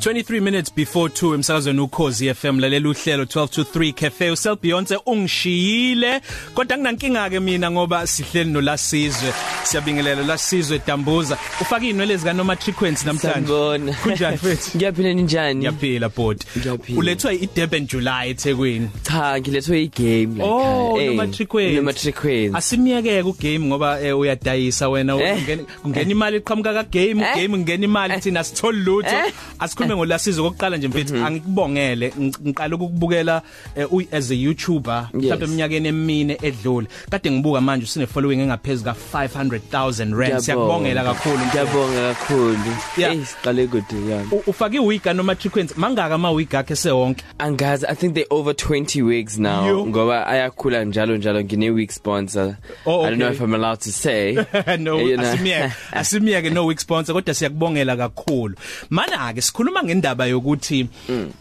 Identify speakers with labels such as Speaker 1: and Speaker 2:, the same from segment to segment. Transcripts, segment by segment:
Speaker 1: 23 minutes before 2 emsakazweni ukhozi FM lalela uhlelo 12 to 3 cafe usel Beyonce ungishiyile kodwa nginankinga ke mina ngoba sihleli nolasizwe siyabingelela lasizwe Dambuza ufaka inwele zika noma frequency namhlanje
Speaker 2: Sanibona.
Speaker 1: Kunjani mfethu?
Speaker 2: Ngiyaphila ninjani?
Speaker 1: Ngiyaphila bot
Speaker 2: Ngiyaphila.
Speaker 1: ulethwa iDurban July eThekwini
Speaker 2: Cha, ngilethwe igame la.
Speaker 1: Oh, nomatrikwezi.
Speaker 2: Nomatrikwezi.
Speaker 1: asimiyeke ku game ngoba eh, uyadayisa wena
Speaker 2: Eh.
Speaker 1: ungena ungena imali iqhamuka ka game
Speaker 2: Eh.
Speaker 1: game ngena imali thina sithola lutho
Speaker 2: Eh. Mhm.
Speaker 1: asikhulume ngolasizwe kokuqala nje mfethu angikubongele ng- ngiqala ukukubukela eh, uy- as a YouTuber
Speaker 2: Yes.
Speaker 1: mhlawumbe eminyakeni emine edlule kade ngibuka manje usine following engaphezulu ka 500000 rand siyakubongela kakhulu mfethu.
Speaker 2: Ngiyabonga kakhulu.
Speaker 1: Yeah.
Speaker 2: Eh, siqale kude yami.
Speaker 1: U- ufake iwiga noma frequency mangaka ama week akhe sewonke
Speaker 2: Angazi, I think they over 20 weeks now
Speaker 1: Yo.
Speaker 2: ngoba ayakhula njalo njalo ngine week sponsor.
Speaker 1: Oh,
Speaker 2: I don't know
Speaker 1: okay.
Speaker 2: if I'm allowed to say.
Speaker 1: no
Speaker 2: You know.
Speaker 1: asimiyeke asimiyeke no week sponsor kodwa siyakubongela kakhulu mana ke sikhuluma ngendaba yokuthi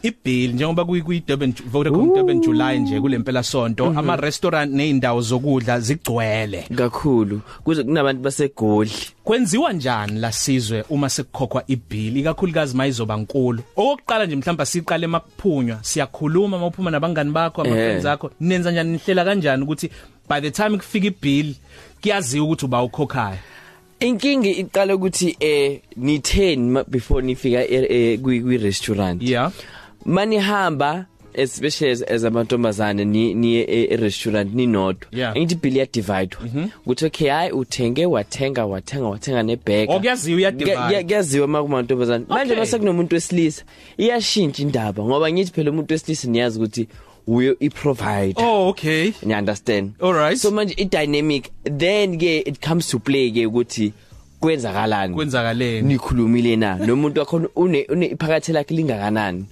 Speaker 1: ibill njengoba kuyi kuyi Durban Vodacom Durban July nje kulempela sonto ama restaurant neindawo zokudla zigcwele
Speaker 2: kakhulu kuze kunabantu basegodli
Speaker 1: kwenziwa njani la sizwe uma sekukhokhwa ibill ikakhulukazi mayizoba nkulu okokuqala nje mhlawumbe siqale makuphunywa siyakhuluma mawuphuma nabangani bakho ama
Speaker 2: Eh.
Speaker 1: friends akho nenza njani nihlela kanjani ukuthi by the time kufika ibill kuyaziwa ukuthi uba ukhokhayo
Speaker 2: inkingi iqala ukuthi eh ni10 ma- before nifika eh, eh, kwi kwi restaurant
Speaker 1: yeah
Speaker 2: manihamba especially as, as amantombazane ni ni e, e restaurant ninodwa
Speaker 1: Yeah. Mhm.
Speaker 2: ngithi bill ya divide ukuthi okay hayi uthenge wathenga wathenga wathenga nebag
Speaker 1: Okuyaziwa Oh, iyadivide.
Speaker 2: kuyaziwa makumantombazane manje
Speaker 1: Okay.
Speaker 2: bese kunomuntu wesilisa iyashintsha indaba ngoba ngithi phela umuntu wesilisa niyazi ukuthi uyo i provider
Speaker 1: Oh okay.
Speaker 2: you understand
Speaker 1: Alright.
Speaker 2: so manje i dynamic then ke it comes to play ke ukuthi kwenzakalani
Speaker 1: Kwenzakaleni.
Speaker 2: nikhulumile na nomuntu wakhona une une- iphakathe lakhe lingakanani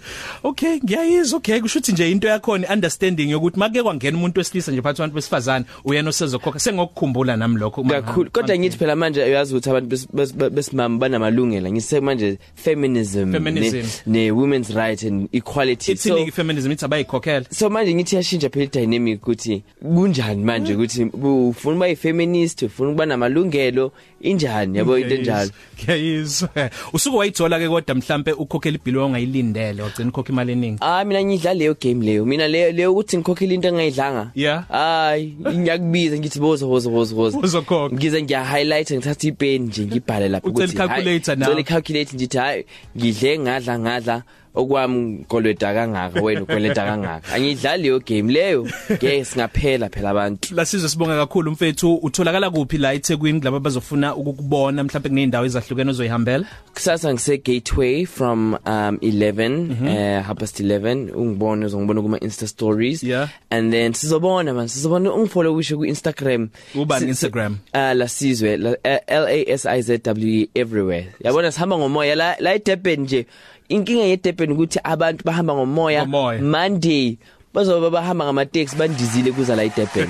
Speaker 1: Okay, ngiyayizwa. Okay, kusho ukuthi nje into yakho ni understanding yokuthi make kwangena umuntu wesilisa nje phathi abantu besifazane uyena osezokhokha. Sengokukhumbula nami lokho. uma-
Speaker 2: kakhulu kodwa ngithi phela manje uyazi ukuthi abantu bes- bes- be- besimama banamalungelo ngise manje feminism
Speaker 1: Feminism.
Speaker 2: ne, ne women's right and equality
Speaker 1: Ithini feminism ithi abayikhokhela.
Speaker 2: so manje ngithi yashintsha phela idynamic ukuthi kunjani manje
Speaker 1: Mm.
Speaker 2: ukuthi bu- ufuna uba yifeminist ufuna ukuba namalungelo injani yabo into enjalo
Speaker 1: Ngiyayizwa. Usuke wayithola ke kodwa mhlambe ukhokhela ibill ongayilindele, wagcina ukhokha imali eningi.
Speaker 2: Ah mina ngidlala leyo game leyo mina leyo leyo ukuthi ngikhokhele into engayidlanga
Speaker 1: Yeah.
Speaker 2: hayi ngiyakubiza ngithi bozo bozo bozo bozo
Speaker 1: Uzokhokha.
Speaker 2: ngize ngiya highlight ngithatha ipen nje ngibhale lapho
Speaker 1: Ucela i-calculator now.
Speaker 2: ucela calculate ngithi hayi ngidle ngadla ngadla okwami kolweda kangaka wena ukoleda kangaka angidlali leyo game leyo ngeke singaphela phela abantu
Speaker 1: Lasizwe sibonga kakhulu mfethu. Utholakala kuphi la eThekwini laba bazofuna ukukubona mhlambe kuneyindawo ezahlukene ozoyihambela?
Speaker 2: kusasa ngise gateway from um 11
Speaker 1: Mhm.
Speaker 2: mm -hmm. uh, half past 11 ungibone uzongibona kuma insta stories
Speaker 1: Yeah.
Speaker 2: and then sizobona man sizobona ungifollow wisho ku Instagram
Speaker 1: Ubani
Speaker 2: Si-
Speaker 1: Instagram?
Speaker 2: Ah la sizwe la- eh, L A S I Z W E everywhere. Yabona sihamba ngomoya la la eDurban nje. Inkinga yeDurban ukuthi abantu bahamba ngomoya
Speaker 1: Ngomoya.
Speaker 2: Monday bazoba bahamba ngama taxi bandizile kuza la eDurban.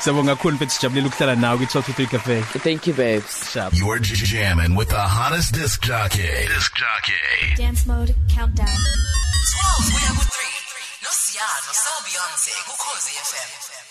Speaker 1: Siyabonga kakhulu mfethu sijabulela ukuhlala nawe ku 1223 Cafe.
Speaker 2: Thank you babes.
Speaker 1: Sharp.
Speaker 3: You're j- jamming with the hottest disc jockey. Disc jockey.
Speaker 4: Dance mode countdown.
Speaker 5: 12 kuya ku 3 nosiyalo so beyonce kukhozi fm